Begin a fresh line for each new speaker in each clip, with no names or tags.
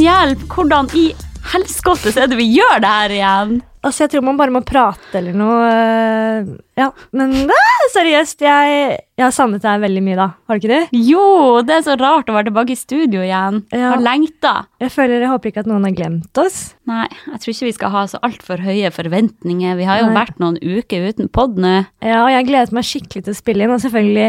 hjelp! Hvordan i helskottes er det vi gjør det her igjen?
Altså, jeg tror man bare må prate eller noe. øh, Ja, men ah, seriøst, jeg, jeg har savnet deg veldig mye da. Har du ikke det?
Jo, det er så rart å være tilbake i studio igjen.
Ja.
Har lengta.
Jeg føler, jeg håper ikke at noen har glemt oss.
Nei, jeg tror ikke vi skal ha så altfor høye forventninger. Vi har jo
Nei.
vært noen uker uten pod nå.
Ja, og jeg gledet meg skikkelig til å spille inn. Og selvfølgelig,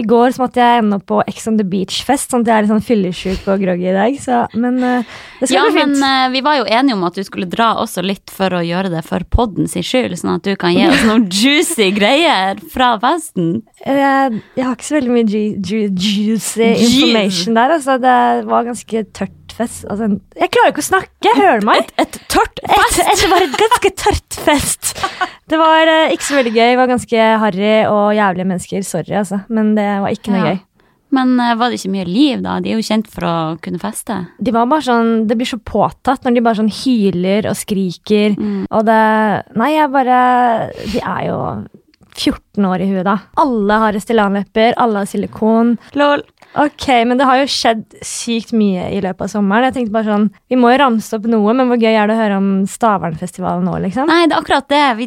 i går så måtte jeg ende opp på Ex on the Beach-fest, sånn at jeg er litt sånn fyllesjuk og groggy i dag. Så, men øh, det skal
Ja,
bli
men
fint.
eh, vi var jo enige om at du skulle dra også litt for å gjøre det for podden sin skyld, sånn at du kan gi oss noen juicy greier fra festen.
Jeg, Eh, jeg har ikke så veldig mye ju ju juicy
Juice.
information der. Altså, det var ganske tørt fest. Altså, jeg klarer ikke å snakke, hører du meg?
Et tørt
Et,
fest!
et, det var et ganske tørt fest. Det var eh, ikke så veldig gøy. Det var ganske harry og jævlige mennesker. Sorry, altså. Men det var ikke noe
Ja.
gøy.
Men eh, var det ikke mye liv, da? De er jo kjent for å kunne feste.
De var bare sånn, Det blir så påtatt når de bare sånn hyler og skriker. Og det Nei, jeg bare De er jo 14 år i huet, da. Alle har Stellan-lepper, alle har silikon.
Lol.
Ok, Men det har jo skjedd sykt mye i løpet av sommeren. Jeg tenkte bare sånn, Vi må jo ramse opp noe, men hvor gøy er det å høre om Stavernfestivalen nå, liksom?
Nei, det er akkurat det. Vi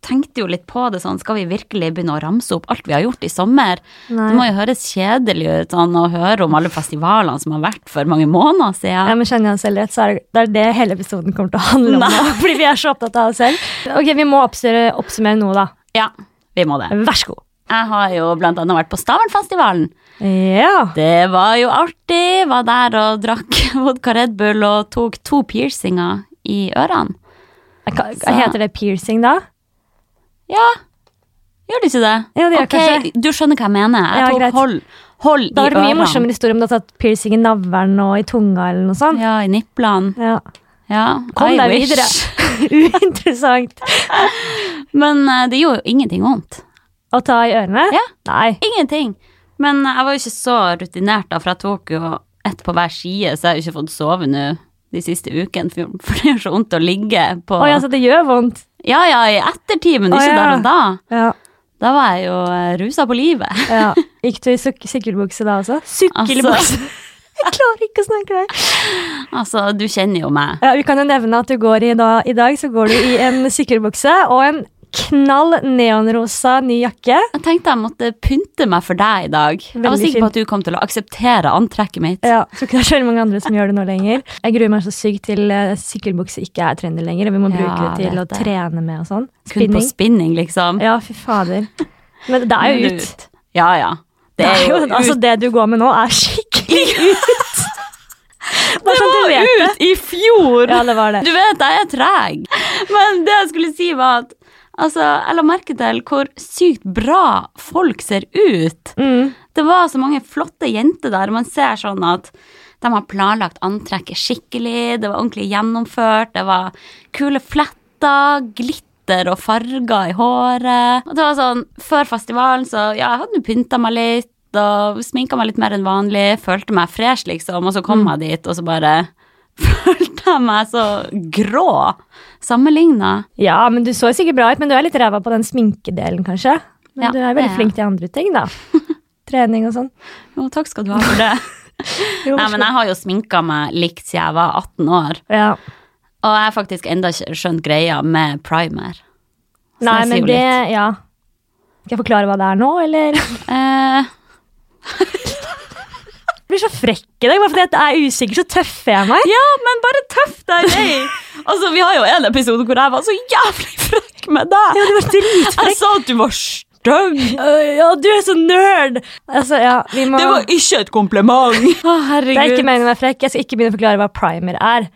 tenkte jo litt på det sånn, skal vi virkelig begynne å ramse opp alt vi har gjort i sommer?
Nei.
Det må jo høres kjedelig ut sånn, å høre om alle festivalene som har vært for mange måneder
Ja,
siden.
men Kjenner jeg oss selv rett, så er det, det er det hele episoden kommer til å handle om. nå, Fordi vi er så opptatt av oss selv. Ok, Vi må oppsummere, oppsummere noe, da.
Ja, vi må det.
Vær så god.
Jeg har jo blant annet vært på Stavernfestivalen.
Ja.
Det var jo artig. Var der og drakk vodka Red Bull og tok to piercinger i ørene.
Hva, hva heter det piercing, da?
Ja, gjør det ikke det?
Ja, det gjør
Ok,
kanskje.
Du skjønner hva jeg mener. Jeg
Ja,
tok
greit.
hold, hold
Da
i
er det mye
ørene.
morsommere historie om du har tatt piercing i navlen og i tunga. eller noe sånt.
Ja, i nipplene.
Ja.
Ja,
Kom
I
deg
wish.
videre. Uinteressant.
Men eh, det gjorde jo ingenting vondt.
Å ta i ørene?
Ja.
Nei.
Ingenting. Men eh, jeg var jo ikke så rutinert, da, for jeg tok jo ett på hver side, så jeg har jo ikke fått sove nå de siste ukene, for for det gjør så vondt å ligge på
Oi, altså, det gjør vondt.
Ja, ja, i ettertid, men
Å,
ikke
ja.
der og da.
Ja.
Da var jeg jo eh, rusa på livet.
ja. Gikk du i suk- sykkelbukse da også?
Altså.
Jeg klarer ikke å snakke der.
Altså, du kjenner jo meg.
Ja, vi kan jo nevne at du går i, da, i dag så går du i en sykkelbukse og en knall neonrosa ny jakke.
Jeg tenkte jeg måtte pynte meg for deg i dag. jeg var
Veldig
sikker på at du kom til å akseptere antrekket mitt.
Ja, Tror ikke det er så veldig mange andre som gjør det nå lenger. Jeg gruer meg så sykt til eh, sykkelbukse ikke er trendy lenger. og Vi må
Ja,
bruke det til å
vet det.
trene med og sånn.
Kun på
Spinning.
spinning, liksom.
Ja, fy fader. Men det er jo ut.
Ja, ja.
Det er jo, altså,
ut.
det du går med nå, er skikkelig ut! Bare sånn du vet.
ut i fjor!
Ja, det var det.
Du vet, jeg er treg. Men det jeg skulle si, var at altså, jeg la merke til hvor sykt bra folk ser ut.
Mm.
Det var så mange flotte jenter der. Man ser sånn at de har planlagt antrekket skikkelig. Det var ordentlig gjennomført. Det var kule fletter, glitter og farger i håret. Og det var sånn, Før festivalen så ja, jeg hadde nå pynta meg litt og sminka meg litt mer enn vanlig. Følte meg fresh, liksom. Og så kom jeg dit, og så bare følte jeg meg så grå sammenligna.
Ja, men du så sikkert bra ut, men du er litt ræva på den sminkedelen, kanskje. Men
Ja,
du er veldig
det er
flink til andre ting, da. Trening og sånn.
Jo, takk skal du ha for det.
Jo,
Nei, men jeg har jo sminka meg likt siden jeg var 18 år.
ja.
Og jeg har faktisk enda ikke skjønt greia med primer. Så
Nei,
sier
men
jo
det
litt.
Ja. Skal jeg forklare hva det er nå, eller? Jeg
Eh,
blir så frekk i dag, bare fordi jeg er usikker, så tøffer jeg meg.
Ja, men bare tøff deg, nei! altså, vi har jo en episode hvor jeg var så jævlig frekk med deg!
Ja, du var dritfrekk.
Jeg sa at du var stygg!
Øh, Ja, du er så nerd! Altså, ja, vi må
Det var ikke et kompliment! Å, herregud.
Det er ikke meningen å være frekk. Jeg skal ikke begynne å forklare hva primer er.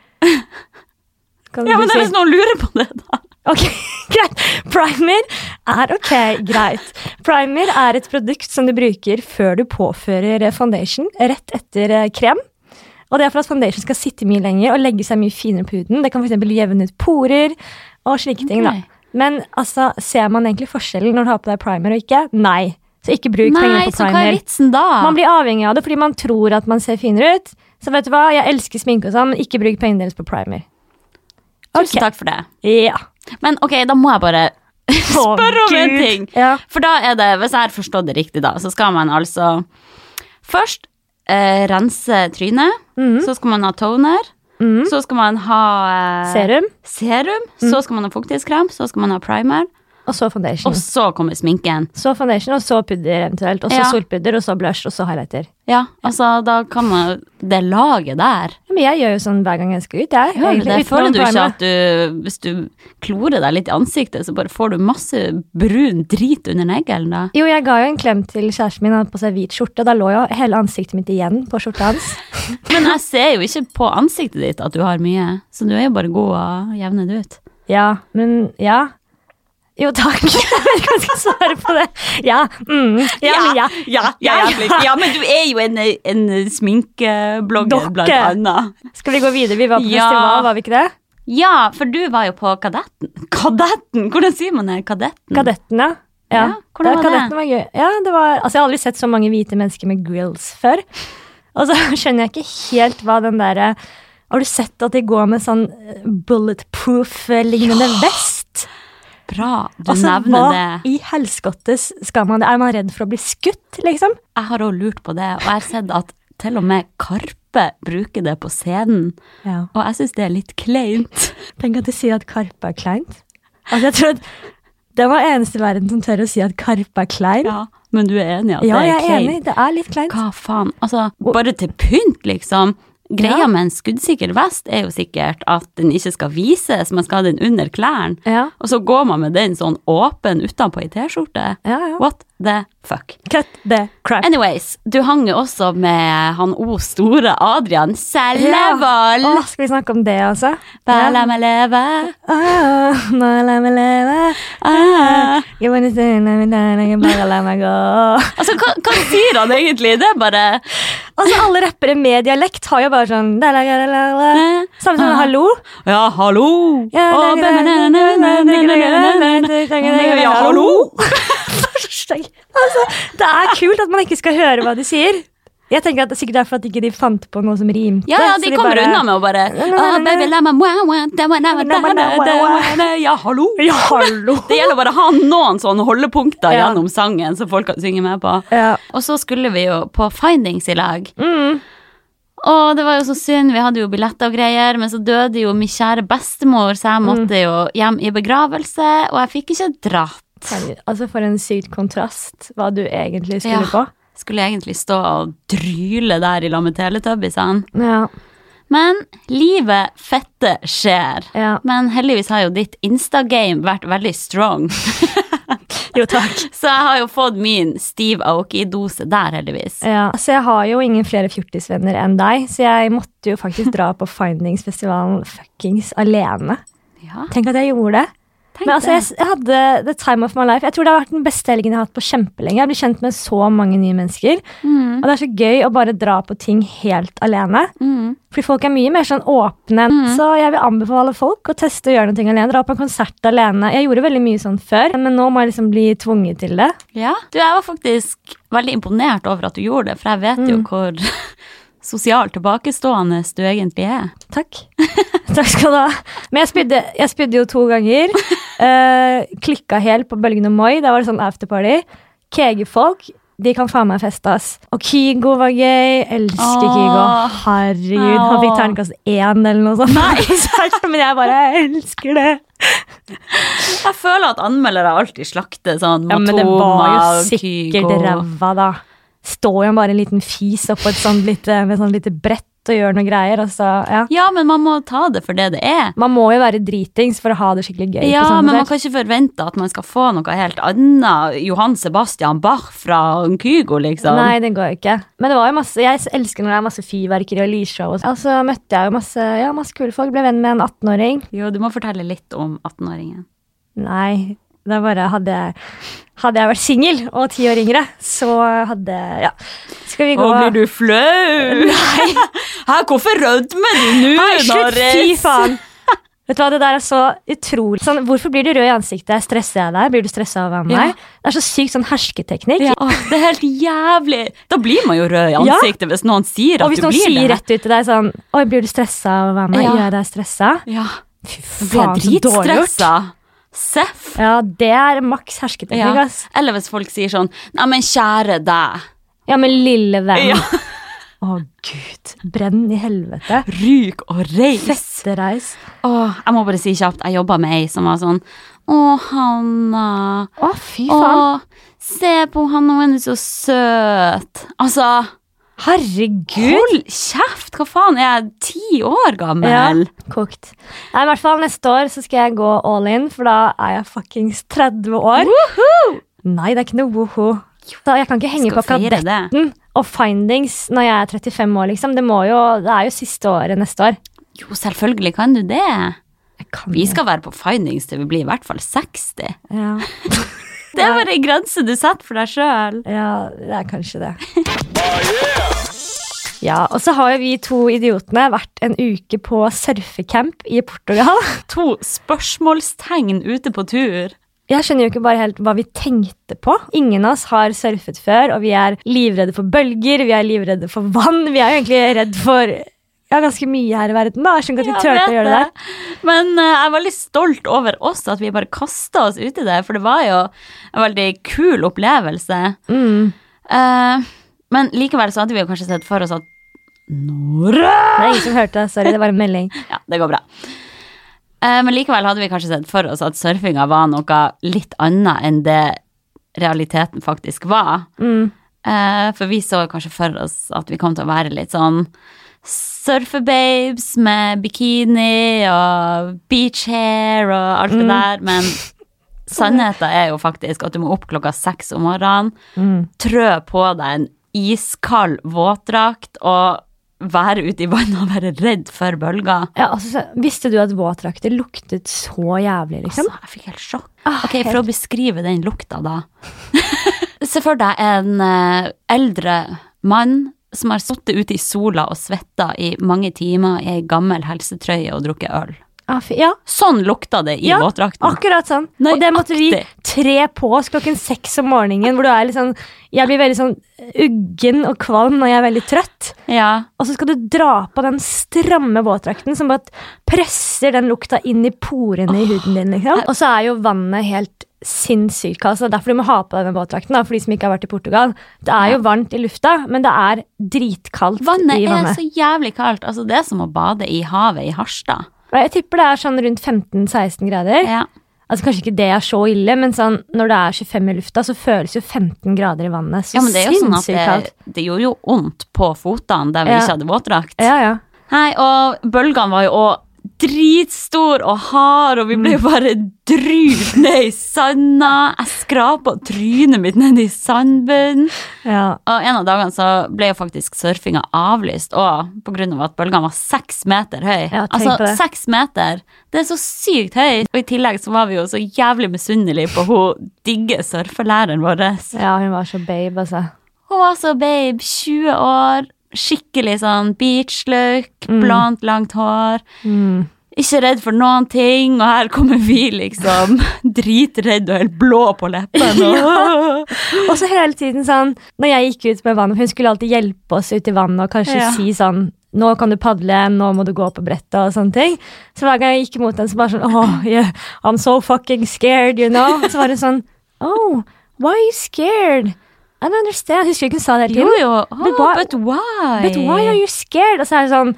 Kan
Ja,
du
men det er
si-
hvis noen lurer på det, da.
Ok, greit. Primer er ok, greit. Primer er et produkt som du bruker før du påfører foundation, rett etter eh, krem. Og det er for at foundation skal sitte mye lenger og legge seg mye finere på huden. Det kan f.eks. jevne ut porer og slike ting. da.
Ok.
Men altså, ser man egentlig forskjellen når du har på deg primer og ikke? Nei. Så ikke bruk
Nei,
pengene på
så hva er
primer.
vitsen da?
Man blir avhengig av det fordi man tror at man ser finere ut. Så vet du hva, jeg elsker sminke og sånn, men ikke bruk pengene deres på primer.
Tusen
Ok.
takk for det.
Ja.
Men ok, da må jeg bare spørre om en
Gud.
ting.
Ja.
For da er det, hvis jeg har forstått det riktig, da, så skal man Mhm. altså først eh, rense trynet. Så skal man ha toner.
Mm.
Så skal man ha eh,
Serum,
serum, så skal man ha fuktighetskrem, så skal man ha primer,
og så foundation.
og så kommer sminken.
Så foundation, og så pudder eventuelt. Og så
Ja.
solpudder, og så blush, og så highlighter.
Ja, altså, da kan man Det laget der
Ja, men jeg gjør jo sånn hver gang jeg skal ut,
Hører
jeg.
du
egentlig,
det?
utenom
Føler du ikke
primer.
at du Hvis du klorer deg litt i ansiktet, så bare får du masse brun drit under neglen, da?
Jo, jeg ga jo en klem til kjæresten min, han hadde på seg hvit skjorte, og da lå jo hele ansiktet mitt igjen på skjorta hans.
Men jeg ser jo ikke på ansiktet ditt at du har mye, så du er jo bare god og jevner det ut.
Ja, men ja. Jo, takk. Jeg vet ikke hva jeg skal svare på det. Ja. Mm, ja, men ja.
ja,
ja, ja.
men du er jo en, en sminkeblogger,
Dokke.
blant annet.
Skal vi gå videre? Vi var på
Ja.
festival, var vi ikke det?
Ja, for du var jo på Kadetten. Kadetten? Hvordan sier man det? Kadetten?
Kadetten, ja. Ja,
Mm. Ja, hvordan var det?
kadetten var gøy. Ja, det var, altså, jeg har aldri sett så mange hvite mennesker med grills før. Og så skjønner jeg ikke helt hva den derre Har du sett at de går med sånn bulletproof-lignende vest?
Bra du
altså,
nevner
hva
det.
i helskottes skal man det? Er man redd for å bli skutt, liksom?
Jeg har òg lurt på det, og jeg har sett at til og med Karpe bruker det på scenen.
Ja.
Og jeg syns det er litt kleint.
Tenk at de sier at Karpe er kleint. Altså, jeg tror at det var eneste i verden som tør å si at Karpe er klein. Ja,
Ja, Men du er enig i at det
jeg
er
er
kleint?
enig. Det er litt kleint.
Hva faen? Altså, bare til pynt, liksom. Greia
Ja.
med en skuddsikker vest er jo sikkert at den ikke skal vises, man skal ha den under klærne.
Ja,
Og så går man med den sånn åpen utenpå i T-skjorte.
ja, ja.
What the fuck?
Cut the crap.
Anyways, du hang jo også med han O store Adrian Sellevold.
Åh, skal vi snakke om det, altså?
Bare la meg leve.
Åh, bare la meg leve.
Ah.
Jeg bare sier, nei, nei, nei, Bare la meg gå.
Altså, hva, hva sier han egentlig? Det er bare
Altså, alle rappere med dialekt har jo bare sånn da, la, la, la, la. Samme som hallo.
Ja, hallo!
Ja,
Å,
la,
bæ, bæ,
la, la,
næ,
la,
næ,
la,
næ, næ,
la, la,
næ,
la,
næ,
la,
næ.
la, la,
Ja, hallo!
Hashtag. Altså, det er kult at man ikke skal høre hva de sier. Jeg tenker at det er sikkert derfor at ikke de fant på noe som rimte.
Ja, ja, de
så
kommer
bare-
unna med å bare «Å,
næ, næ,
baby,
næ.
la meg mua, mua, da, mua, da, mua, da,
Mua, mua,
da,
mua,
da,
mua.
mua, da, Ja, hallo!
Ja, hallo.
Det gjelder bare å ha noen sånne holdepunkter
Ja.
gjennom sangen som folk kan synge med på.
Ja.
Og så skulle vi jo på Findings i lag.
Mm.
Og det var jo så synd, vi hadde jo billetter og greier, men så døde jo min kjære bestemor, så
Mm.
jeg måtte jo hjem i begravelse, og jeg fikk ikke dratt.
Herregud, Altså, for en sykt kontrast hva du egentlig skulle
Ja.
på.
Skulle egentlig stå og dryle der i lag med Teletubbiesene.
Ja,
Men livet fette skjer.
ja.
Men heldigvis har jo ditt Insta-game vært veldig strong,
Jo, takk.
så jeg har jo fått min Steve Aoki-dose der, heldigvis.
Ja, altså jeg har jo ingen flere fjortisvenner enn deg, så jeg måtte jo faktisk dra på Findingsfestivalen fuckings alene.
Ja,
Tenk at jeg gjorde det.
tenk
Men altså, jeg,
det.
s- jeg hadde the time of my life. Jeg tror det har vært den beste helgen jeg har hatt på kjempelenge. Jeg blir kjent med så mange nye mennesker,
Mm,
og det er så gøy å bare dra på ting helt alene.
mm.
Fordi folk er mye mer sånn åpne. Så jeg vil anbefale folk å teste å gjøre noe alene. Dra på en konsert alene. Jeg gjorde veldig mye sånn før, men nå må jeg liksom bli tvunget til det.
Ja. Du, jeg var faktisk veldig imponert over at du gjorde det, for jeg vet jo
Mm.
hvor sosialt tilbakestående du egentlig er.
Takk. Takk skal du ha. Men jeg spydde, jeg spydde jo to ganger. Uh, klikka helt på Bølgen og Moi. Da var det sånn afterparty. Kegefolk. De kan faen meg feste, ass. Og Kygo var gøy. Elsker
Åh.
Kygo. Herregud. Han fikk
Åh.
terningkast én eller noe sånt. Nei. sånn, Men jeg bare elsker det.
Jeg føler at anmeldere alltid slakter sånn
Ja, men det
Matoma
var jo
og
sikkert
Kygo.
ræva, da. Står jo bare en liten fis oppå et sånt lite, med sånn lite brett og gjør noe greier. Og så, ja.
Ja, men man må ta det for det det er.
Man må jo være dritings for å ha det skikkelig gøy. på
Ja,
sånn
men man
konsert.
kan ikke forvente at man skal få noe helt annet Johan Sebastian Bach fra Kygo, liksom.
Nei, det går jo ikke. Men det var jo masse, jeg elsker når det er masse fyrverkeri og lysshow. Og så altså, møtte jeg jo masse, ja, masse kule folk. Ble venn med en 18-åring.
Jo, du må fortelle litt om 18-åringen.
Nei, det er bare hadde jeg, hadde jeg vært singel og ti år yngre, så hadde Ja. Skal vi
Å,
gå
blir du flau? Nei. Hæ, hvorfor rødmer du nå,
Nei, slutt! Fy
Naris?
faen! Vet du hva, Det der er så utrolig sånn, Hvorfor blir du rød i ansiktet? Stresser jeg deg? Blir du stressa av å være med
Ja.
meg? Det er så sykt sånn hersketeknikk.
Ja. Åh, det er helt jævlig. Da blir man jo rød i
Ja.
ansiktet hvis noen sier at
Og hvis
du
noen
blir
sier
det.
rett ut til deg sånn Oi, blir du stressa av å være med?
Ja.
Gjør jeg deg stressa?
Ja,
Fy
Blir
faen, så dårlig gjort.
dritstressa. Seff.
Ja, det er maks hersketeknikk,
Ja.
ass.
Eller hvis folk sier sånn Nei, men kjære deg.
Ja, men lille venn.
Ja.
Å gud, brenn i helvete.
Ryk og reis!
Festereis.
Åh, jeg må bare si kjapt, jeg jobba med ei som var sånn Å, Hanna.
Å, fy
Å,
faen.
se på Hanna, hun er så søt. Altså,
Herregud.
hold kjeft! Hva faen, jeg er ti år
Ja,
gammel.
kokt. Nei, i hvert fall neste år så skal jeg gå all in, for da er jeg fuckings 30 år. Nei, det er ikke noe woho. Da, jeg kan ikke henge på
Skal feire
akkurat
det.
detten og findings når jeg er 35 år, liksom. Det, må jo, det er jo siste året neste år.
Jo, selvfølgelig kan du det.
Jeg kan
Vi skal være på findings til vi blir i hvert fall 60.
Ja.
Det er bare ei grense du setter for deg sjøl.
ja, det er kanskje det. Ja, og så har jo vi to idiotene vært en uke på surfecamp i Portugal.
To spørsmålstegn ute på tur.
Jeg skjønner jo ikke bare helt hva vi tenkte på. Ingen av oss har surfet før, og vi er livredde for bølger, vi er livredde for vann. Vi er jo egentlig redd for ja, ganske mye her i verden. da. Jeg skjønner ikke at vi
Jeg
turte å
vet
gjøre det der.
Men eh, jeg er veldig stolt over oss at vi bare kasta oss ut i det, for det var jo en veldig kul opplevelse.
Mm.
Eh, men likevel så hadde vi jo kanskje sett for oss at Nora!
Det er ingen som hørte det. Sorry, det var en melding.
Ja, det går bra. Eh, men likevel hadde vi kanskje sett for oss at surfinga var noe litt annet enn det realiteten faktisk var.
Mm.
Eh, for vi så kanskje for oss at vi kom til å være litt sånn surfebabes med bikini og beach hair og alt
Mm.
det der, men sannheten er jo faktisk at du må opp klokka seks om morgenen,
Mm.
trø på deg en iskald våtdrakt og være ute i vannet og være redd for bølger.
Ja, altså, så- visste du at våtdrakter luktet så jævlig, liksom?
Altså, jeg fikk helt sjokk.
Ah,
ok, For å beskrive den lukta, da. Se for deg en eh, eldre mann som har sittet ute i sola og svetta i mange timer i ei gammel helsetrøye og drukket øl.
Ah, fy- ja,
Sånn lukta det i
Ja,
våtdrakten.
akkurat sånn. Og det måtte vi
Nøyaktig.
tre på oss klokken seks om morgenen, hvor du er litt sånn Jeg blir veldig sånn uggen og kvalm, og jeg er veldig trøtt.
Ja.
Og så skal du dra på den stramme våtdrakten som bare presser den lukta inn i porene i huden din. liksom. Og så er jo vannet helt sinnssykt kaldt. så Det er derfor du må ha på denne våtdrakten. da, for de som ikke har vært i Portugal. Det er jo varmt i lufta, men det er dritkaldt
Vannet
i
er
vannet.
så jævlig kaldt. Altså, det er som å bade i havet i Harstad.
Og Jeg tipper det er sånn rundt 15-16 grader.
Ja.
Altså Kanskje ikke det er så ille, men sånn, når det er 25 i lufta, så føles jo 15 grader i vannet så
ja, men det er jo sånn at
sinnssykt
det,
kaldt.
det gjorde jo vondt på føttene der vi
Ja.
ikke hadde våtdrakt.
Ja, ja.
Nei, og bølgene var jo også dritstor og hard, og vi
Mm.
ble jo bare drypt ned i sanda. Jeg skrapa trynet mitt ned i sandbunnen.
ja.
Og en av dagene så ble jo faktisk surfinga avlyst, og på grunn av at bølgene var seks meter høy.
Ja, tenk
altså,
på det.
seks meter! Det er så sykt høyt! Og i tillegg så var vi jo så jævlig misunnelige på hun digge surfelæreren vår.
ja, hun var så babe, altså.
Hun var så babe, 20 år, skikkelig sånn beach-look,
Mm.
blondt, langt hår.
Mm.
Ikke redd for noen ting, og her kommer vi liksom dritredd og helt blå på leppene. og-
Og så hele tiden sånn Når jeg gikk ut med vannet, for hun skulle alltid hjelpe oss ut i vannet og kanskje
Ja.
si sånn nå kan du padle, nå må du gå på brettet og sånne ting. Så hver gang jeg gikk imot henne, så bare sånn Oh, yeah, I'm so fucking scared, you know. Og så var hun sånn Oh, why are you scared? I don't understand. Jeg husker ikke hun sa det hele
Jo
tiden.
jo,
But
oh,
why-
but why?
But why are you scared? Og så er det sånn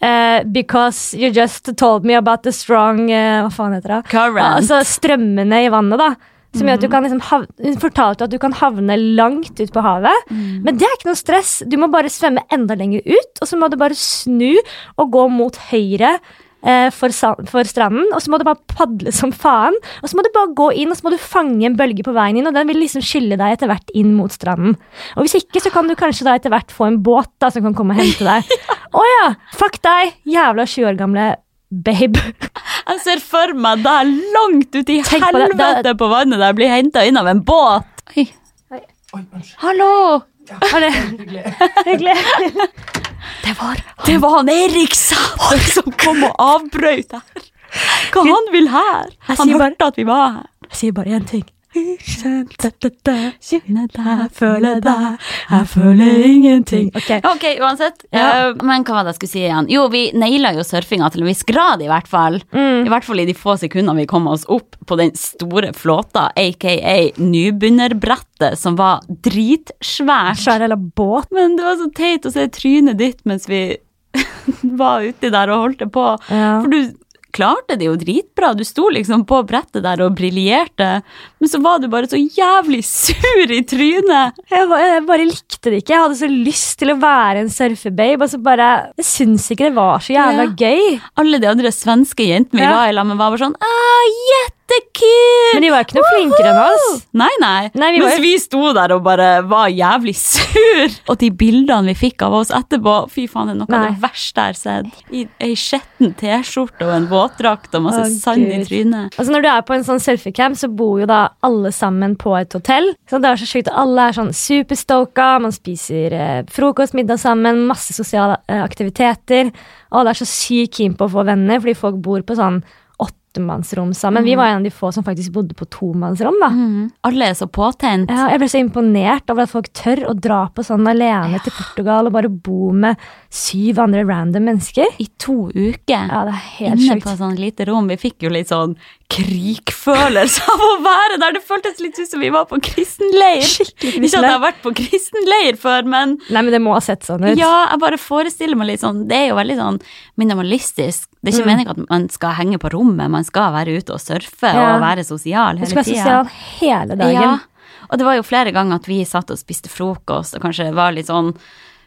«Eh, Because you just told me about the strong eh, Hva faen heter det? Ja,
Current.
altså strømmene i vannet, da. Som gjør at du kan liksom havne, hun fortalte at du kan havne langt ut på havet. Men det er ikke noe stress. Du må bare svømme enda lenger ut, og så må du bare snu og gå mot høyre. eh, For, sa- for stranden, og så må du bare padle som faen. Og så må du bare gå inn og så må du fange en bølge på veien inn, og den vil liksom skylle deg etter hvert inn mot stranden. Og hvis ikke, så kan du kanskje da etter hvert få en båt da som kan komme og hente deg. Å ja! Fuck deg, jævla 20 år gamle babe.
Jeg ser for meg deg langt ute i
Tenk på det, det er-
helvete på vannet der blir henta inn av en båt. Oi. Hallo!
Var det hyggelig? Det var
Det var han Erik Sæther som kom og avbrøt her. Hva han vil her?
Jeg
Han
sier bare-
hørte at vi var her.
Jeg sier bare én ting.
Kjenne deg,
jeg føler ingenting.
Ok, uansett.
Ja.
Eh, men hva var det jeg skulle si igjen? Jo, vi naila jo surfinga til en viss grad, i hvert fall. I hvert fall i de få sekundene vi kom oss opp på den store flåta, aka nybegynnerbrettet, som var dritsvært.
Svær eller båt.
Men det var så teit å se trynet ditt mens vi var uti der og holdt det på.
Ja.
For du klarte det jo dritbra. Du sto liksom på brettet der og briljerte. Men så var du bare så jævlig sur i trynet.
Jeg, ba- jeg bare likte det ikke. Jeg hadde så lyst til å være en surfebabe. Og så bare, jeg syns ikke det var så jævla
Ja.
gøy.
Alle de andre svenske jentene vi
Ja.
var i lag med, var bare sånn «Ah, Jettekult!
Men de var jo ikke noe flinkere enn oss.
Nei, nei.
Nei, vi var-
Mens vi sto der og bare var jævlig sur. Og de bildene vi fikk av oss etterpå, fy faen, det er noe av det
Nei.
verste jeg har sett. I ei skjetten T-skjorte og en våtdrakt og masse
Å,
sand i
Gud.
trynet.
Altså Når du er på en sånn surfecamp, så bor jo da alle sammen på et hotell. Så det er så sjukt. Alle er sånn superstoka, man spiser eh, frokost, middag sammen, masse sosiale eh, aktiviteter. Og alle er så sykt keen på å få venner, fordi folk bor på sånn åttemannsrom sammen.
Mm.
Vi var en av de få som faktisk bodde på tomannsrom, da.
Alle er så påtent.
Mhm. Ja, jeg ble så imponert over at folk tør å dra på sånn alene til Portugal og bare bo med syv andre random mennesker.
I to uker.
Ja, det er helt
Inne på
sjukt.
sånn lite rom. Vi fikk jo litt sånn krigfølelse av å være der. Det føltes litt ut som vi var på kristenleir. Ikke at
Skikkelig
jeg
kristent.
har vært på kristenleir før, men
Nei, men det må ha sett sånn ut.
Ja, jeg bare forestiller meg litt sånn Det er jo veldig sånn minimalistisk. Det er ikke
Mm.
meningen at man skal henge på rommet, man skal være ute og surfe
Ja.
og være sosial
Du
hele
skal være
tida.
sosial hele dagen.
Ja. Og det var jo flere ganger at vi satt og spiste frokost og kanskje var litt sånn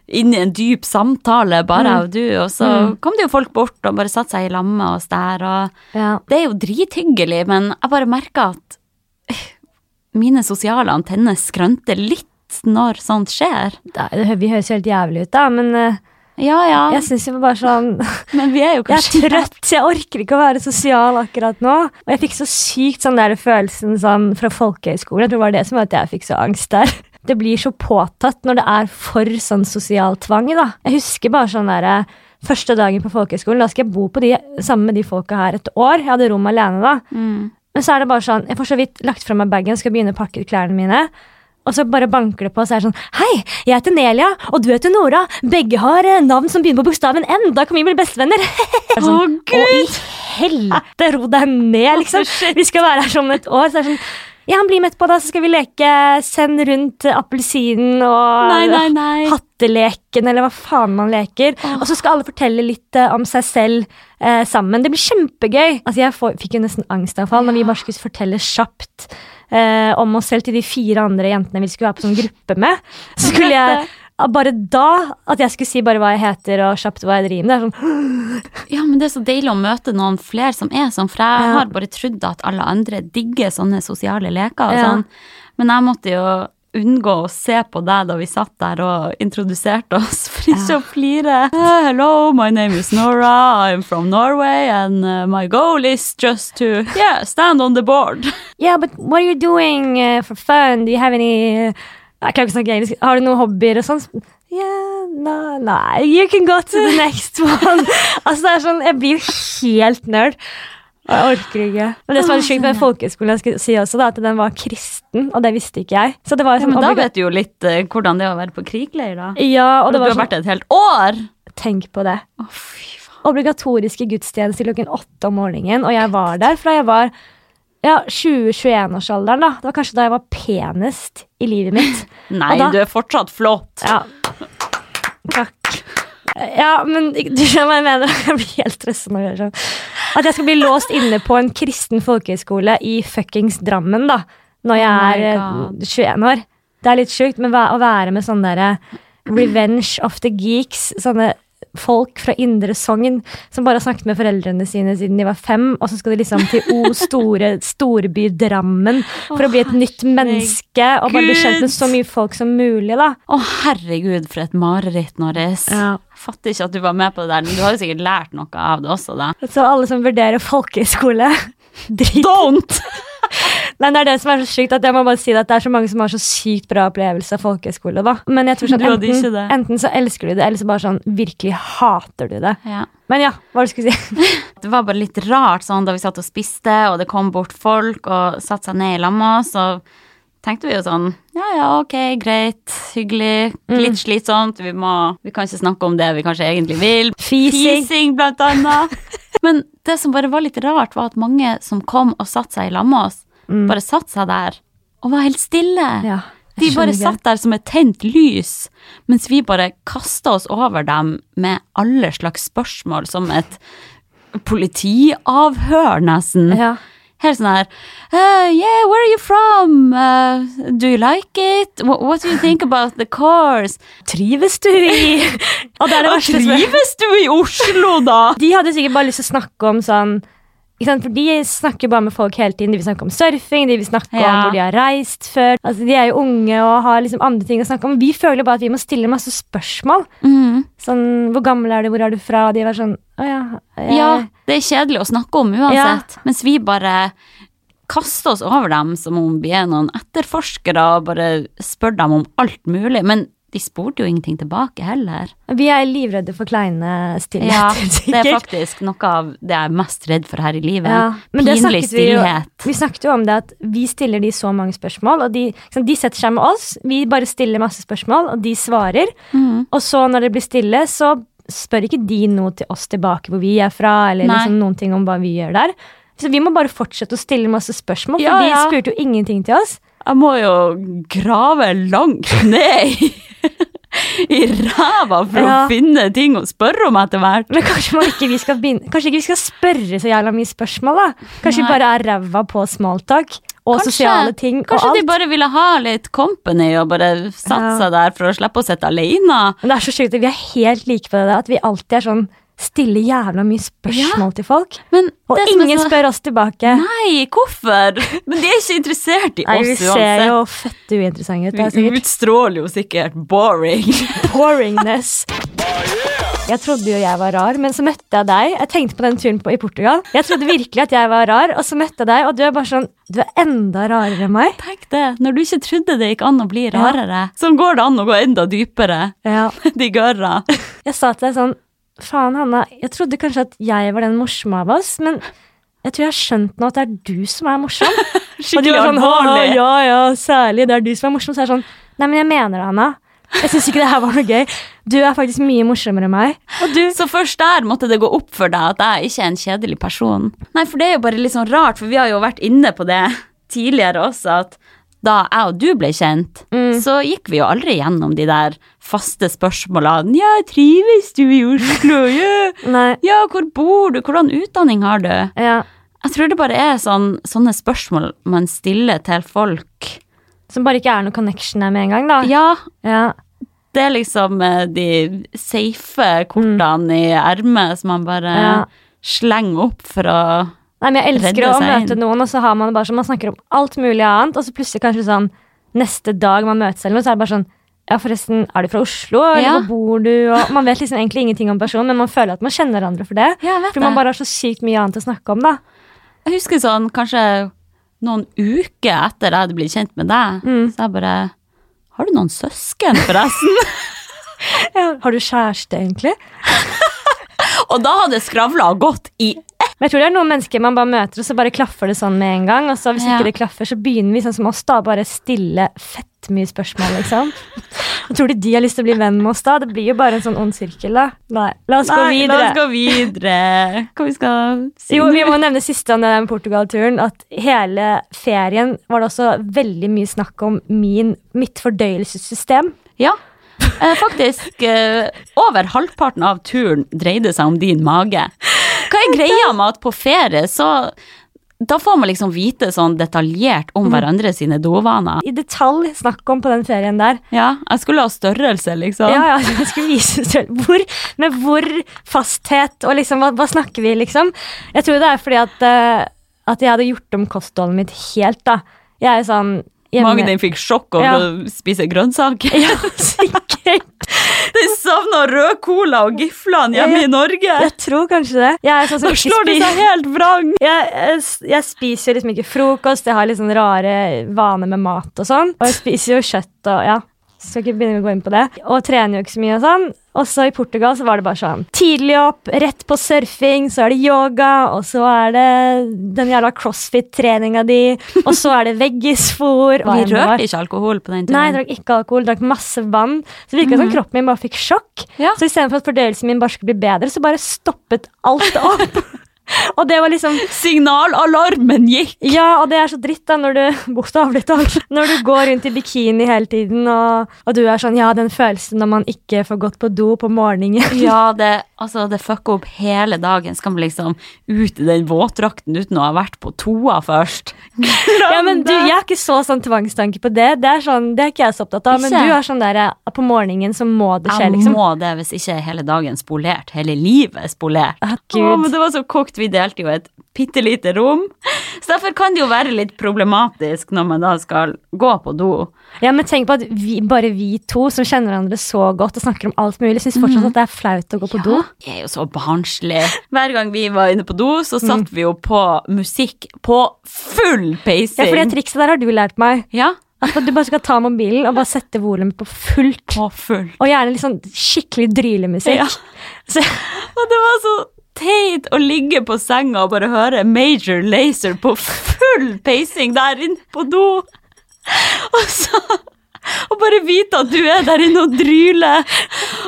inne i en dyp samtale, bare
Mm.
jeg og du, og så kom det jo folk bort og bare satte seg i lag med oss der, og
Ja.
det er jo drithyggelig, men jeg bare merka at eh, mine sosiale antenner skranter litt når sånt skjer.
Nei, det hø- vi høres jo helt jævlig ut, da, men eh,
Ja ja,
jeg syns jo bare sånn
men vi er jo
Jeg er
kanskje
trøtt, så jeg orker ikke å være sosial akkurat nå. Og jeg fikk så sykt sånn der følelsen sånn fra folkehøyskolen. Jeg tror det var det som var at jeg fikk så angst der. Det blir så påtatt når det er for sånn sosial tvang, da. Jeg husker bare sånn derre Første dagen på folkehøyskolen, da skal jeg bo på de, sammen med de folka her et år. Jeg hadde rom alene da.
Mm.
Men så er det bare sånn, jeg får så vidt lagt fra meg bagen, skal begynne å pakke ut klærne mine. Og så bare banker det på, og så er det sånn Hei, jeg heter Nelia, og du heter Nora. Begge har eh, navn som begynner på bokstaven N. Da kan vi bli bestevenner. Det er sånn,
Å, Gud!
Å, i helvete, ro deg ned, liksom. Vi skal være her sånn et år. Så er det sånn Ja, han blir med etterpå, da, så skal vi leke Send rundt eh, appelsinen og
Nei, nei, nei.
Hatteleken, eller hva faen man leker. Og så skal alle fortelle litt eh, om seg selv eh, sammen. Det blir kjempegøy. Altså, jeg får, fikk jo nesten angstanfall når vi bare skulle fortelle kjapt eh, om oss selv til de fire andre jentene vi skulle være på sånn gruppe med. Så skulle jeg ah, bare da at jeg skulle si bare hva jeg heter og kjapt hva jeg driver med. Det er sånn
Ja, men det er så deilig å møte noen flere som er sånn, for jeg har bare trodd at alle andre digger sånne sosiale leker og
Ja.
sånn. Men jeg måtte jo unngå å se på deg da vi satt der og introduserte oss, for ikke å flire. Eh, hello, my name is Nora, I'm from Norway, and uh, my goal is just to, yeah, stand on the board.
Yeah, but what are you doing uh, for fun? Do you have any uh, Jeg klarer ikke å snakke engelsk. Har du noen hobbyer og sånn? Yeah, no, nei You can go to the next one. altså, det er sånn Jeg blir jo helt nerd. Og jeg orker ikke. Men det som var litt sjukt med folkehøyskolen, jeg skulle si også da, at den var kristen, og det visste ikke jeg. Så det var jo
Ja,
sånn
men da
obliga-
vet du jo litt eh, hvordan det er å være på krigleir, da.
ja, og
Du
det
har
var sånn,
vært et helt år!
Tenk på det.
Å, fy faen.
Obligatoriske gudstjenester klokken åtte om morgenen, og jeg var der fra jeg var ja, 20-21-årsalderen. da. Det var kanskje da jeg var penest i livet mitt.
Nei,
Og da-
du er fortsatt flott.
Ja. Takk. Ja, men du skjønner hva jeg mener. Jeg blir helt stressa når jeg gjør sånn. At jeg skal bli låst inne på en kristen folkehøyskole i fuckings Drammen, da. Når jeg er
Oh my
eh, 21 år. Det er litt sjukt, men hva- å være med sånne derre Revenge of the Geeks, sånne folk fra Indre Sogn som bare har snakket med foreldrene sine siden de var fem, og så skal de liksom til O store storby Drammen for å bli et nytt menneske og bare bli kjent med så mye folk som mulig, da.
Å, herregud, for et mareritt, Norris.
Ja.
Jeg Fatter ikke at du var med på det der, men du har jo sikkert lært noe av det også, da.
Så alle som vurderer folkehøyskole drit.
Don't!
Nei, det er det som er så sykt at jeg må bare si det, at det er så mange som har så sykt bra opplevelse av folkehøyskole. da. Men jeg tror sånn,
Du hadde ikke
enten,
det.
enten så elsker du det, eller så bare sånn virkelig hater du det.
Ja.
Men ja, hva var det du skulle si?
Det var bare litt rart sånn da vi satt og spiste, og det kom bort folk og satte seg ned i lag med oss. Og tenkte vi jo sånn Ja, ja, ok, greit, hyggelig. Litt slitsomt. Vi, må, vi kan ikke snakke om det vi kanskje egentlig vil.
Fising.
Fising, blant annet. Men det som bare var litt rart, var at mange som kom og satte seg i lag med oss, bare satte seg der og var helt stille.
Ja, jeg
De bare
skjønner ikke.
satt der som et tent lys, mens vi bare kasta oss over dem med alle slags spørsmål, som et politiavhør, nesten.
Ja.
Helt sånn her «Eh, Yeah, where are you from? Eh, do you like it? What, what do you think about the cars?
Trives du i Og det er det
Og
verste som er-
trives du i Oslo, da?
De hadde sikkert bare lyst til å snakke om sånn ikke sant? For De snakker bare med folk hele tiden. De vil snakke om surfing, de vil snakke om
Ja.
hvor de har reist før. Altså, De er jo unge og har liksom andre ting å snakke om. Vi føler bare at vi må stille masse spørsmål.
Mm.
Sånn, 'Hvor gammel er du? Hvor er du fra?' Og de var sånn 'Å ja, jeg,
Ja, det er kjedelig å snakke om uansett, mens vi bare kaster oss over dem som om vi er noen etterforskere og bare spør dem om alt mulig. Men de spurte jo ingenting tilbake heller.
Vi er livredde for
Ja,
kleine stillheter,
det er
sikkert.
faktisk noe av det jeg er mest redd for her i livet.
Ja, men det
Pinlig
snakket vi jo-
stillhet.
Vi snakket jo om det at vi stiller de så mange spørsmål, og de, ikke sant, de setter seg med oss. Vi bare stiller masse spørsmål, og de svarer.
Mhm.
Og så når det blir stille, så spør ikke de noe til oss tilbake hvor vi er fra, eller
Nei.
liksom noen ting om hva vi gjør der. Så vi må bare fortsette å stille masse spørsmål, for
Ja,
de
ja.
spurte jo ingenting til oss.
Jeg må jo grave langt ned i, i ræva for å
Ja.
finne ting å spørre om etter hvert.
Men kanskje, man ikke vi skal begynne, kanskje ikke vi skal spørre så jævla mye spørsmål, da. Kanskje
Nei.
vi bare er ræva på smalltalk og
Kanskje-
sosiale ting og
Kanskje
alt.
de bare ville ha litt company og bare satt
Ja.
seg der for å slippe å sitte alene.
Men det er så sjukt at vi er helt like på det, at vi alltid er sånn stiller jævla mye spørsmål til folk.
Men
Og
det som er
ingen
så-
spør oss tilbake.
Nei, hvorfor? Men de er ikke interessert i
Nei, vi
oss
ser
uansett.
jo fette uinteressante ut. Det er
Vi
sikkert
utstråler jo sikkert boring.
boringness. Jeg trodde jo jeg var rar, men så møtte jeg deg. Jeg tenkte på den turen på, i Portugal. Jeg trodde virkelig at jeg var rar, og så møtte jeg deg, og du er bare sånn Du er enda rarere enn meg.
Tenk det, når du ikke trodde det gikk an å bli rarere, så går det an å gå enda dypere.
Ja.
De gørra.
Jeg sa til deg sånn Faen, Hanna, jeg trodde kanskje at jeg var den morsomme av oss, men jeg tror jeg har skjønt nå at det er du som er morsom. Og de
Skikkelig
var sånn, «Haha,
alvorlig.
ja, ja, særlig, det er du som er morsom. Så er jeg sånn, nei, men jeg mener det, Hanna. Jeg syns ikke det her var noe gøy. Du er faktisk mye morsommere enn meg. Og du
Så først der måtte det gå opp for deg at jeg ikke er en kjedelig person. Nei, for det er jo bare litt sånn rart, for vi har jo vært inne på det tidligere også, at da jeg og du ble kjent, så gikk vi jo aldri gjennom de der faste spørsmålene. Ja, trives du i Oslo? Ja.
Nei.
Ja, hvor bor du? Hvordan utdanning har du?
Ja.
Jeg tror det bare er sånn, sånne spørsmål man stiller til folk.
Som bare ikke er noe connection der med en gang, da.
Ja,
Ja.
det er liksom eh, de safe kortene i ermet som man bare
Ja.
slenger opp for å
Nei, men jeg elsker
Redde
å
seg
møte
inn.
noen, og så har man det bare sånn, man snakker om alt mulig annet, og så plutselig kanskje sånn neste dag man møtes eller noe, så er det bare sånn ja, forresten, er du fra Oslo, eller
Ja.
hvor bor du? Og man vet liksom egentlig ingenting om personen, men man føler at man kjenner hverandre for det.
Ja, jeg vet
Fordi man
det.
bare har så sykt mye annet å snakke om, da.
Jeg husker sånn kanskje noen uker etter jeg hadde blitt kjent med deg, så jeg bare Har du noen søsken, forresten?
Ja. Har du kjæreste, egentlig?
og da hadde skravla gått i
Men jeg tror det er noen mennesker man bare møter, og så bare klaffer det sånn med en gang. Og så hvis
Ja.
ikke det klaffer, så begynner vi sånn som oss, da. Bare stille fett mye spørsmål, liksom. Og tror du de har lyst til å bli venn med oss da? Det blir jo bare en sånn ond sirkel, da. Nei, la oss gå
Nei, la
videre.
oss gå videre. Hva vi skal si?
Jo, vi må nevne siste om den Portugal-turen, at hele ferien var det også veldig mye snakk om min, mitt fordøyelsessystem.
Ja. Eh, faktisk, eh, over halvparten av turen dreide seg om din mage. Hva er greia med at på ferie så Da får man liksom vite sånn detaljert om hverandre sine dovaner.
I detalj snakk om på den ferien der.
Ja, jeg skulle ha størrelse, liksom.
Ja, ja, jeg skulle vise selv. Hvor, med hvor fasthet, og liksom, hva, hva snakker vi, liksom? Jeg tror det er fordi at, eh, at jeg hadde gjort om kostholdet mitt helt, da. Jeg er sånn hjemme-
Magen din fikk sjokk over
Ja.
å spise grønnsaker.
Ja, sikkert.
Den savna rød cola og Giflan hjemme i Norge.
Jeg tror kanskje det. Jeg er sånn som
Da
ikke
slår det
spiser-
seg helt vrang.
jeg, jeg, jeg spiser liksom ikke frokost, jeg har litt sånn rare vaner med mat og sånn. Og jeg spiser jo kjøtt og ja. Skal ikke begynne å gå inn på det. Og trener jo ikke så mye og sånn. Og så i Portugal så var det bare sånn tidlig opp, rett på surfing, så er det yoga, og så er det den jævla crossfit-treninga di, og så er det veggisfôr.
Vi rørte ikke alkohol på den
Nei,
turen.
jeg drakk ikke alkohol, drakk masse vann. Så det virka som kroppen min bare fikk sjokk.
Mhm. Ja.
Så istedenfor at fordøyelsen min bare skulle bli bedre, så bare stoppet alt opp. og det var liksom
Signalalarmen gikk.
ja, og det er så dritt da når du bokstavelig talt Når du går rundt i bikini hele tiden, og, og du er sånn Ja, den følelsen når man ikke får gått på do på morgenen.
Ja, det, altså, det fucka opp hele dagen. Skal man liksom ut i den våtdrakten uten å ha vært på toa først? Glem
Ja, men du, Jeg har ikke så sånn tvangstanke på det. Det er sånn, det er ikke jeg så opptatt av. Men
Ikke?
du er sånn der eh, På morgenen så må det skje,
Jeg
liksom.
må det, hvis ikke er hele dagen spolert. Hele livet er spolert.
Ah,
Å,
Gud.
men det var så kokt. Vi delte jo et bitte lite rom. Så derfor kan det jo være litt problematisk når man da skal gå på do.
Ja, men tenk på at vi, bare vi to som kjenner hverandre så godt og snakker om alt mulig, syns
Mm.
fortsatt at det er flaut å gå på do.
Jeg er jo så barnslig. Hver gang vi var inne på do, så satt vi jo på musikk på full
Mm. Ja, for det
peising.
trikset der har du lært meg.
Ja,
At du bare skal ta mobilen og bare sette volumet på fullt.
på full.
Og gjerne litt sånn skikkelig drylemusikk.
Ja.
Så,
Og det var så teit å ligge på senga og bare høre Major Lazer på full peising der inne på do. Og så Og bare vite at du er der inne og dryler.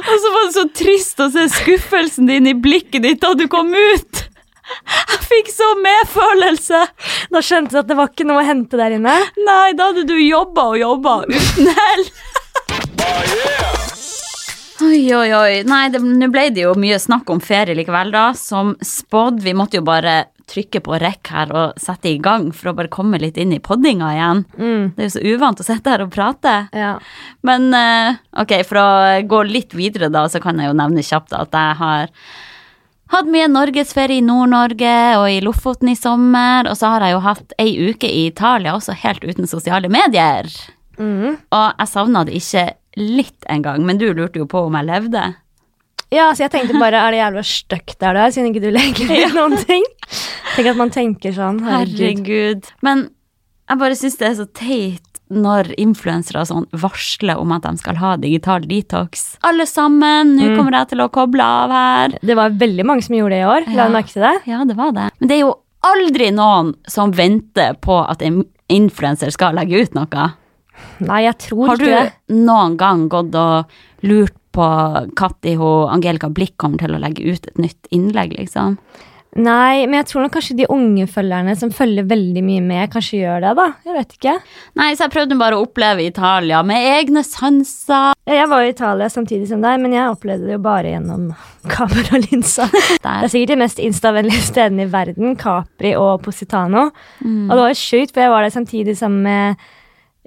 Og så var det så trist å se skuffelsen din i blikket ditt da du kom ut. Jeg fikk så medfølelse.
da skjønte du at det var ikke noe å hente der inne.
Nei, da hadde du jobba og jobba uten hell. Oi, oi, oi. Nei, det- nå ble det jo mye snakk om ferie likevel, da. Som spådd. Vi måtte jo bare trykke på rekk her og sette i gang for å bare komme litt inn i poddinga igjen. Det er jo så uvant å sitte her og prate.
Mm. Ja.
Men eh, ok, for å gå litt videre, da, så kan jeg jo nevne kjapt at jeg har hatt mye norgesferie i Nord-Norge og i Lofoten i sommer. Og så har jeg jo hatt ei uke i Italia også, helt uten sosiale medier.
Mm.
Og jeg savna det ikke litt engang, men du lurte jo på om jeg levde.
ja, så jeg tenkte bare, er det jævla støkk der du er, siden ikke du legger ut noen ting? Tenk at man tenker sånn, herregud.
Herregud. Men jeg bare syns det er så teit når influensere og sånn varsler om at de skal ha digital detox. Alle sammen, nå kommer jeg til å koble av her.
Det var veldig mange som gjorde det i år, la du merke til det?
Ja, det var det. Men det er jo aldri noen som venter på at en influenser skal legge ut noe.
Nei, jeg tror
Har du
ikke det.
noen gang gått og lurt på når Angelica Blikk kommer til å legge ut et nytt innlegg, liksom?
Nei, men jeg tror nok kanskje de unge følgerne som følger veldig mye med, kanskje gjør det da. Jeg vet ikke.
Nei, så jeg prøvde bare å oppleve Italia med egne sanser.
Ja, Jeg var i Italia samtidig som deg, men jeg opplevde det jo bare gjennom kameralinsa. Det
Der.
er sikkert de mest instavennlige stedene i verden, Capri og Positano.
Mm.
Og det var jo sjukt, for jeg var der samtidig sammen med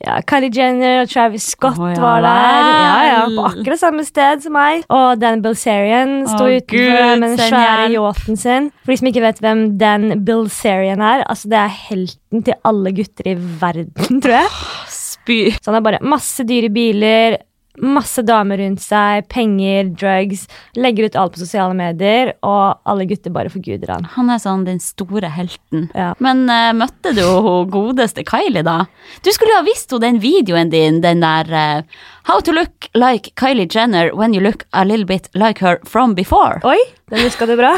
ja, Kylie Jenner og Travis Scott
Å, ja
var der.
vel.
Ja, ja, på akkurat samme sted som meg. Og Dan Bilzerian sto
Å,
utenfor
Gud,
med den
send
svære
hjelp.
yachten sin. For de som ikke vet hvem Dan Bilzerian er, altså det er helten til alle gutter i verden, tror jeg.
Spy.
Så han har bare masse dyre biler, masse damer rundt seg, penger, drugs. Legger ut alt på sosiale medier, og alle gutter bare forguder han.
Han er sånn den store helten.
Ja.
Men eh, møtte du hun godeste Kylie, da? Du skulle jo ha visst henne den videoen din, den der eh, How to look like Kylie Jenner when you look a little bit like her from before.
Oi, den huska du bra.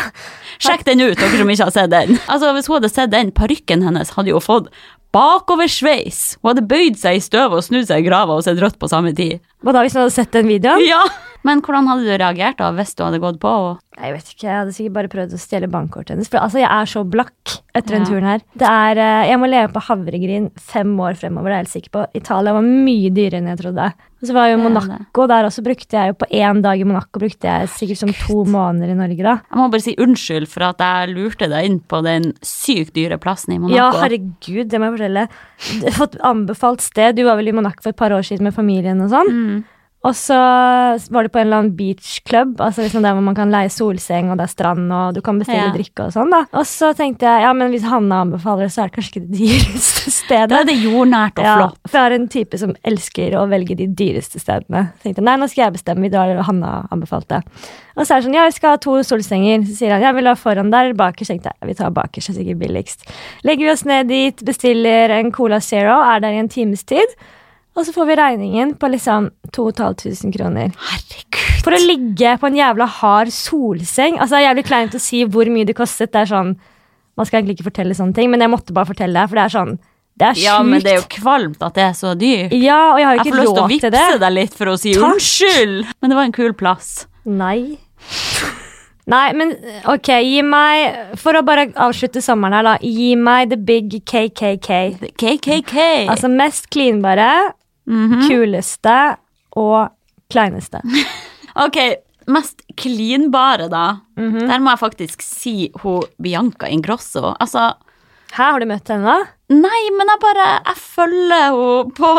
Sjekk den ut, dere som ikke har sett den. Altså, Hvis hun hadde sett den, parykken hennes hadde jo fått bakoversveis. Hun hadde bøyd seg i støvet og snudd seg i grava og sett rødt på samme tid.
Hva da hvis du hadde sett den videoen?
Ja! Men hvordan hadde du reagert da, hvis du hadde gått på henne?
Jeg vet ikke, jeg hadde sikkert bare prøvd å stjele bankkortet hennes. For altså, jeg er så blakk etter den
Ja.
turen her. Det er, eh, jeg må leve på havregryn fem år fremover, det er jeg helt sikker på. Italia var mye dyrere enn jeg trodde. Og så var jeg jo i
Det er det.
Monaco, der også brukte jeg jo på én dag i Monaco brukte jeg sikkert som to måneder i Norge, da.
Jeg må bare si unnskyld for at jeg lurte deg inn på den sykt dyre plassen i Monaco.
Ja, herregud,
Mm.
det må jeg fortelle. Du har Fått anbefalt sted. Du var vel i Monaco for et par år siden med familien og sånn. Og så var det på en eller annen beach club, altså liksom der hvor man kan leie solseng, og det er strand, og du kan
Ja.
bestille drikke og sånn, da. Og så tenkte jeg, ja, men hvis Hanna anbefaler det, så er det kanskje ikke det dyreste
Da
stedet.
er det jordnært og
Ja,
flott.
for jeg har en type som elsker å velge de dyreste stedene. Så tenkte jeg, nei, nå skal jeg bestemme, vi drar, og Hanna anbefalte. Og så er det sånn, ja, vi skal ha to solsenger. Så sier han, jeg vil ha foran der, bakerst. Tenkte jeg, vi tar bakerst, det er sikkert billigst. Legger vi oss ned dit, bestiller en Cola Zero, er der i en times tid. Og så får vi regningen på liksom 2500 kroner.
Herregud.
For å ligge på en jævla hard solseng Altså det er jævlig kleint å si hvor mye det kostet Det er sånn, man skal egentlig ikke fortelle sånne ting Men jeg måtte bare fortelle det, for det er sånn Det er sjukt
Ja, men det er jo kvalmt at det er så dyrt.
Ja, og jeg har jo
Jeg får
ikke
lyst til å
råd til det
vippse deg litt for å si
Takk.
unnskyld! Men det var en kul plass.
Nei Nei, men ok, gi meg For å bare avslutte sommeren her da Gi meg the big KKK
The KKK.
Altså mest klinbare
Mhm.
Kuleste Og kleineste
Ok, mest klinbare, da.
Mhm.
Der må jeg faktisk si hun Bianca Ingrosso. Altså,
Her har du møtt henne da
nei, men jeg bare Jeg følger henne på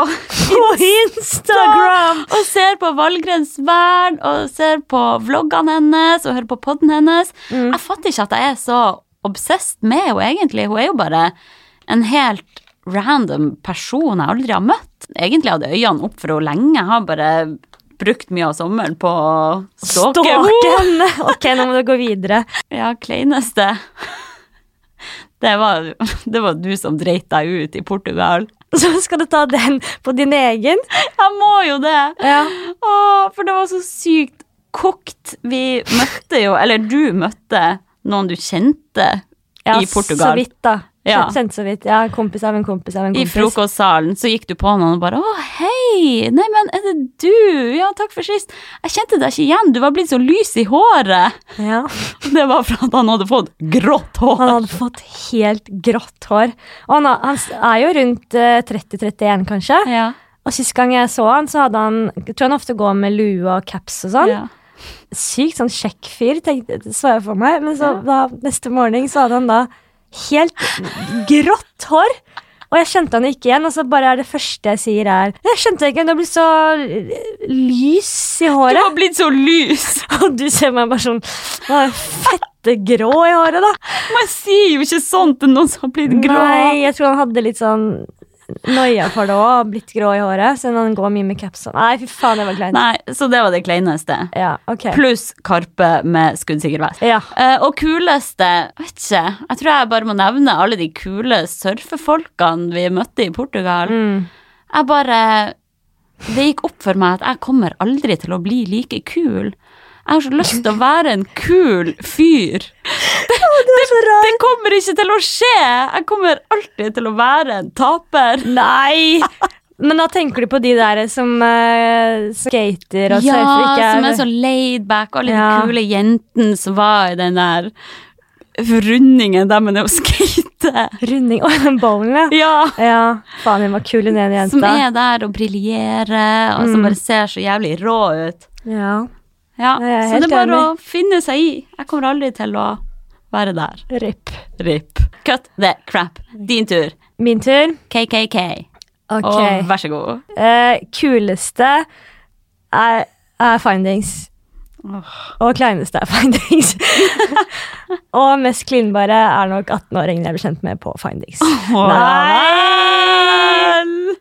På Instagram
Og ser på Valgrens verden, og ser på vloggene hennes og hører på podden hennes.
Mm.
Jeg fatter ikke at jeg er så obsessed med henne, egentlig. Hun er jo bare en helt random person jeg aldri har møtt. Egentlig hadde jeg øynene opp for henne lenge. Jeg har bare brukt mye av sommeren på å stalke henne.
henne. Ok, nå må du gå videre.
Ja, kleineste. Det var, det var du som dreit deg ut i Portugal.
Så skal du ta den på din egen.
Jeg må jo det!
Ja.
Åh, for det var så sykt kokt. Vi møtte jo, eller du møtte noen du kjente i Portugal.
Så vidt, da.
Ja.
Kjent, kjent så vidt. Ja, en kompis av en kompis av en
I
kompis.
frokostsalen så gikk du på noen og bare 'Å, hei! Nei, men er det du? Ja, takk for sist.' Jeg kjente deg ikke igjen, du var blitt så lys i håret.
Ja.
Og Det var for at han hadde fått grått
Han
hår.
hadde fått helt grått hår. Og han, har- han s- er jo rundt eh, 30-31, kanskje.
Ja,
Og sist gang jeg så han, så hadde han Jeg tror han ofte går med lue og caps og sånn.
ja.
Sykt sånn kjekk fyr, tenkte, så jeg for meg. Men så da, neste morgen så hadde han da helt grått hår. Og jeg kjente han ikke igjen, og så bare er det første jeg sier er Jeg skjønte ikke, du har blitt så l- lys i
Du
håret.
var blitt så lys!
Og du ser meg bare sånn «Å, Fette grå i håret, da.
Man sier jo ikke sånt til noen som har blitt grå.
Nei, jeg tror han hadde litt sånn noia for det òg, blitt grå i håret. Siden han går mye med caps og Nei, fy faen, det var kleint.
Nei, så det var det kleineste.
Ja, ok.
Pluss Karpe med skuddsikker vest.
Ja.
Eh, og kuleste Vet ikke. Jeg tror jeg bare må nevne alle de kule surfefolkene vi møtte i Portugal.
Mm.
Jeg bare Det gikk opp for meg at jeg kommer aldri til å bli like kul. Jeg har så lyst til å være en kul fyr.
Det er så rart.
Det kommer ikke til å skje! Jeg kommer alltid til å være en taper.
Nei! Men da tenker du på de der som eh, skater og
Ja,
surfer ikke
som er sånn- så laidback, og alle
Ja.
de kule jentene som var i den der rundingen der man er å skate.
Runding Å, den bowlen, ja.
Ja.
Ja, faen, hun var kul, hun ene jenta.
Som er der og briljerer, og som
Mm.
bare ser så jævlig rå ut.
Ja,
Ja,
Nei, jeg er
Så det
helt
er bare
enig.
å finne seg i. Jeg kommer aldri til å være der.
RIP.
RIP. Cut the crap. Din tur.
Min tur.
KKK.
Ok.
Og vær så god.
Eh, kuleste er, er findings. Og kleineste er findings. og mest klinbare er nok 18-åringen jeg ble kjent med på findings. Nei!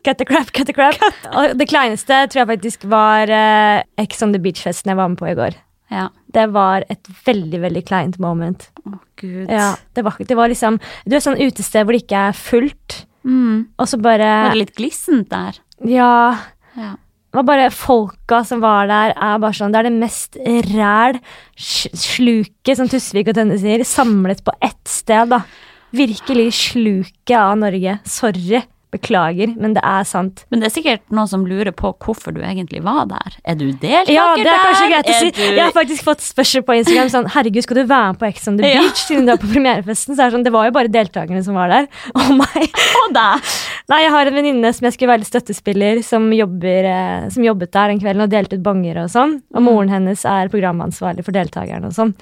Cut the crap, cut the crap. Og det kleineste tror jeg faktisk var eh, Ex on the Beach-festen jeg var med på i går.
Ja.
Det var et veldig veldig kleint moment.
Å, gud.
Ja, det, var, det var liksom Du er sånn utested hvor det ikke er fullt,
Mm.
og så bare
Var det litt glissent der?
Ja.
Ja.
Det var bare folka som var der, er bare sånn Det er det mest ræl sj- sluket, som Tusvik og Tønne sier, samlet på ett sted, da. Virkelig sluket av Norge. Sorry. Beklager, men det er sant.
Men det er sikkert noen som lurer på hvorfor du egentlig var der. Er du deltaker
Ja, det er kanskje
der?
greit å si.
du-
Jeg har faktisk fått spørsmål på Instagram sånn Herregud, skal du være med på Ex on the
Ja.
Beach? Siden du er på premierefesten. Så er det sånn, det var jo bare deltakerne som var der. Oh Og meg.
Og deg!
Nei, jeg har en venninne som jeg skulle være litt støttespiller, som, jobber, eh, som jobbet der den kvelden og delte ut bonger og sånn. Og moren hennes er programansvarlig for deltakerne og sånn.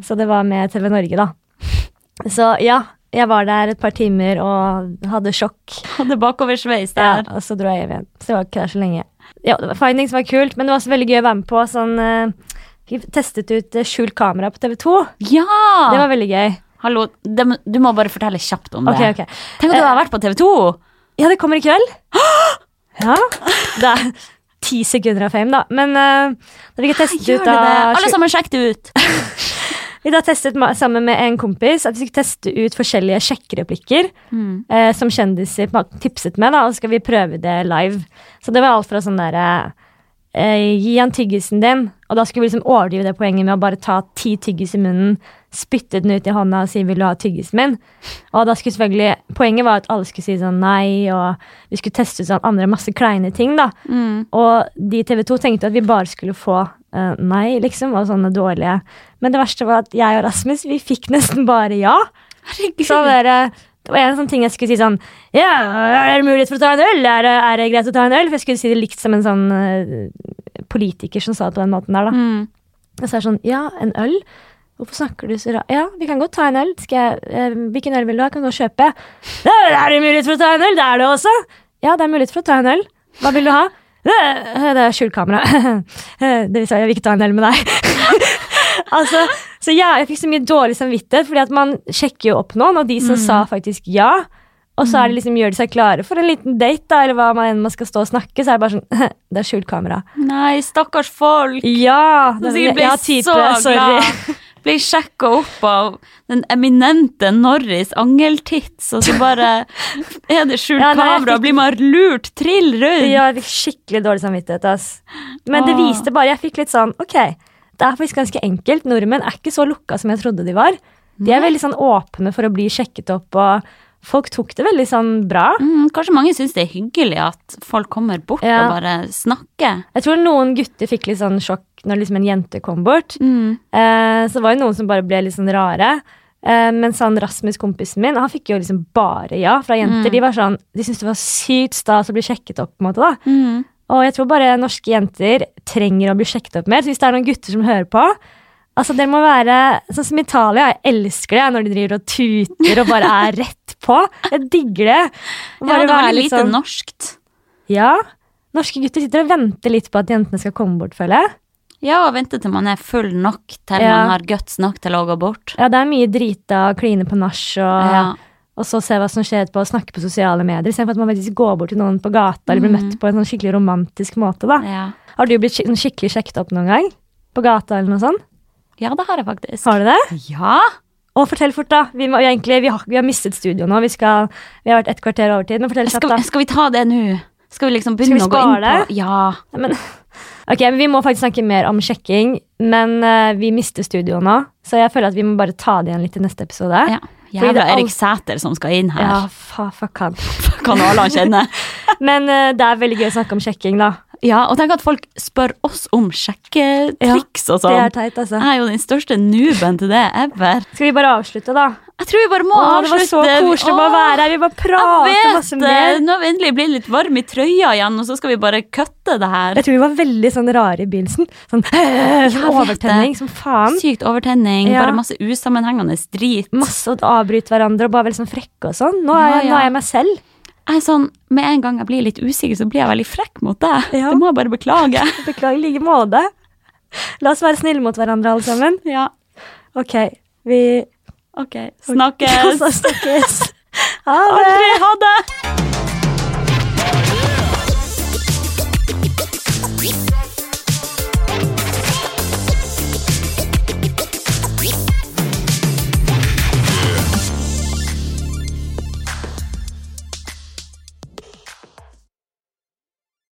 Så det var med TV Norge, da. Så ja, jeg var der et par timer og hadde sjokk.
Hadde bakoversveis
Ja,
der.
og så dro jeg hjem igjen. Så jeg var ikke der så lenge. ja, det var- Findings var kult, men det var også veldig gøy å være med på. Sånn, eh, vi testet ut eh, skjult kamera på TV 2.
Ja!
Det
Ah.
var veldig gøy.
Hallo, dem- du må bare fortelle kjapt om
Ok,
det.
ok. Eh,
Tenk at du har vært på TV 2!
Ja, det kommer i kveld. Ja. Det er ti sekunder av fame, da. Men eh, da fikk jeg testet
Gjør
ut
det
da,
det? Alle sammen, sjekk det ut!
Vi da testet ma- sammen med en kompis at vi skulle teste ut forskjellige sjekkereplikker
Mm.
eh, som kjendiser på- tipset med, da, og så skal vi prøve det live. Så det var alt fra sånn derre eh, Gi han tyggisen din. Og da skulle vi liksom overdrive det poenget med å bare ta ti tyggis i munnen, spytte den ut i hånda og si 'vil du ha tyggisen min'? Og da skulle selvfølgelig Poenget var at alle skulle si sånn nei, og vi skulle teste ut sånn andre masse kleine ting, da.
Mm.
Og de TV 2 tenkte at vi bare skulle få eh, nei, liksom, og sånne dårlige. Men det verste var at jeg og Rasmus, vi fikk nesten bare ja.
Herregud.
Så dere, det var en sånn ting jeg skulle si sånn Ja, er det mulighet for å ta en øl? Er det, er det greit å ta en øl? For jeg skulle si det likt som en sånn eh, politiker som sa det på den måten der, da.
Mm.
Og så er det sånn, ja, en øl? Hvorfor snakker du så rart? Ja, vi kan godt ta en øl. Skal jeg, eh, hvilken øl vil du ha? Kan du gå og kjøpe? «Ja, Er det mulighet for å ta en øl? Det er det også. Ja, det er mulighet for å ta en øl. Hva vil du ha? «Eh, Det er skjult kamera. Eh, Det vil si, jeg vil ikke ta en øl med deg. altså, så ja, jeg fikk så mye dårlig samvittighet, fordi at man sjekker jo opp noen, og de som sa faktisk ja, og så er det liksom, gjør de seg klare for en liten date, da, eller hva man enn man skal stå og snakke, så er det bare sånn, det er skjult kamera.
Nei, stakkars folk!
Ja,
Så
det,
jeg ble
ja, type,
så
sorry.
glad. Ble sjekka opp av den eminente Norris Angeltits, og så bare er det skjult
Ja, nei, jeg
kamera,
fikk-
blir man lurt trill rundt.
Ja, jeg fikk skikkelig dårlig samvittighet. ass. Men det
Åh.
viste bare Jeg fikk litt sånn Ok, det er faktisk ganske enkelt. Nordmenn er ikke så lukka som jeg trodde de var. De er veldig sånn åpne for å bli sjekket opp, og folk tok det veldig sånn bra.
Mm, kanskje mange syns det er hyggelig at folk kommer bort
Ja.
og bare snakker.
Jeg tror noen gutter fikk litt sånn sjokk når liksom en jente kom bort.
Mm.
Eh, så det var jo noen som bare ble litt sånn rare. Eh, mens han Rasmus, kompisen min, han fikk jo liksom bare ja fra jenter. De var sånn, de syntes det var sykt stas å bli sjekket opp, på en måte. da.
Mm.
Og jeg tror bare norske jenter trenger å bli sjekket opp mer. Så hvis det er noen gutter som hører på Altså, dere må være Sånn som Italia, jeg elsker det når de driver og tuter og bare er rett på. Jeg digger det. Og
Ja,
bare
det var
være
veldig
litt
lite
sånn-
norskt.
Ja. Norske gutter sitter og venter litt på at jentene skal komme bort, føler jeg.
Ja, og vente til man er full nok til
Ja.
man har guts nok til å gå bort.
Ja, det er mye drita og kline på nach og,
Ja.
og så se hva som skjer etterpå og snakke på sosiale medier. Istedenfor at man faktisk går bort til noen på gata eller blir møtt på en sånn skikkelig romantisk måte, da.
Mm. Ja.
Har du blitt skik- sånn skikkelig sjekket opp noen gang? På gata eller noe sånt?
ja, det har jeg faktisk.
Har du det?
Ja!
Og fortell fort, da. Vi, må, vi, er egentlig, vi, har, vi har mistet studio nå. Vi, skal, vi har vært et kvarter overtid. Men fortell kjapt,
Skal,
da.
skal vi ta det nå? Skal vi liksom
Skal vi
begynne å gå inn
spare
på Ja.
Nei, Men, ok, men Vi må faktisk snakke mer om sjekking, men eh, vi mister studio nå. Så jeg føler at vi må bare ta det igjen litt i neste episode.
ja.
Fordi
Jævla
det er alt-
Erik Sæter som skal inn
Ja,
her.
fa, fuck han.
Kan alle han kjenne?
Men eh, det er veldig gøy å snakke om sjekking, da.
Ja, og tenk at folk spør oss om sjekketriks og
Det
sånn.
er teit, altså.
Jeg er jo den største nooben til det ever.
Skal vi bare avslutte, da?
Jeg tror vi bare må
Å, det var
avslutte.
så koselig å bare være her. Vi
Åh,
bare prater
Jeg
masse
vet det!
mer.
Nå har vi endelig blitt litt varme i trøya igjen, og så skal vi bare kutte det her.
Jeg tror vi var veldig sånn rare i begynnelsen. Sånn, sånn
vet det.
overtenning som faen.
Sykt overtenning,
Ja.
bare masse usammenhengende drit.
masse å avbryte hverandre og bare veldig sånn frekke og sånn. Nå er,
Ja,
jeg,
ja.
nå er jeg meg selv.
Jeg er sånn, Med en gang jeg blir litt usikker, så blir jeg veldig frekk mot deg.
Ja.
Det må jeg bare beklage.
Beklager i like måte. La oss være snille mot hverandre, alle sammen.
Ja,
Ok, vi
ok. Snakkes.
snakkes. Ha det!
Aldri ha det!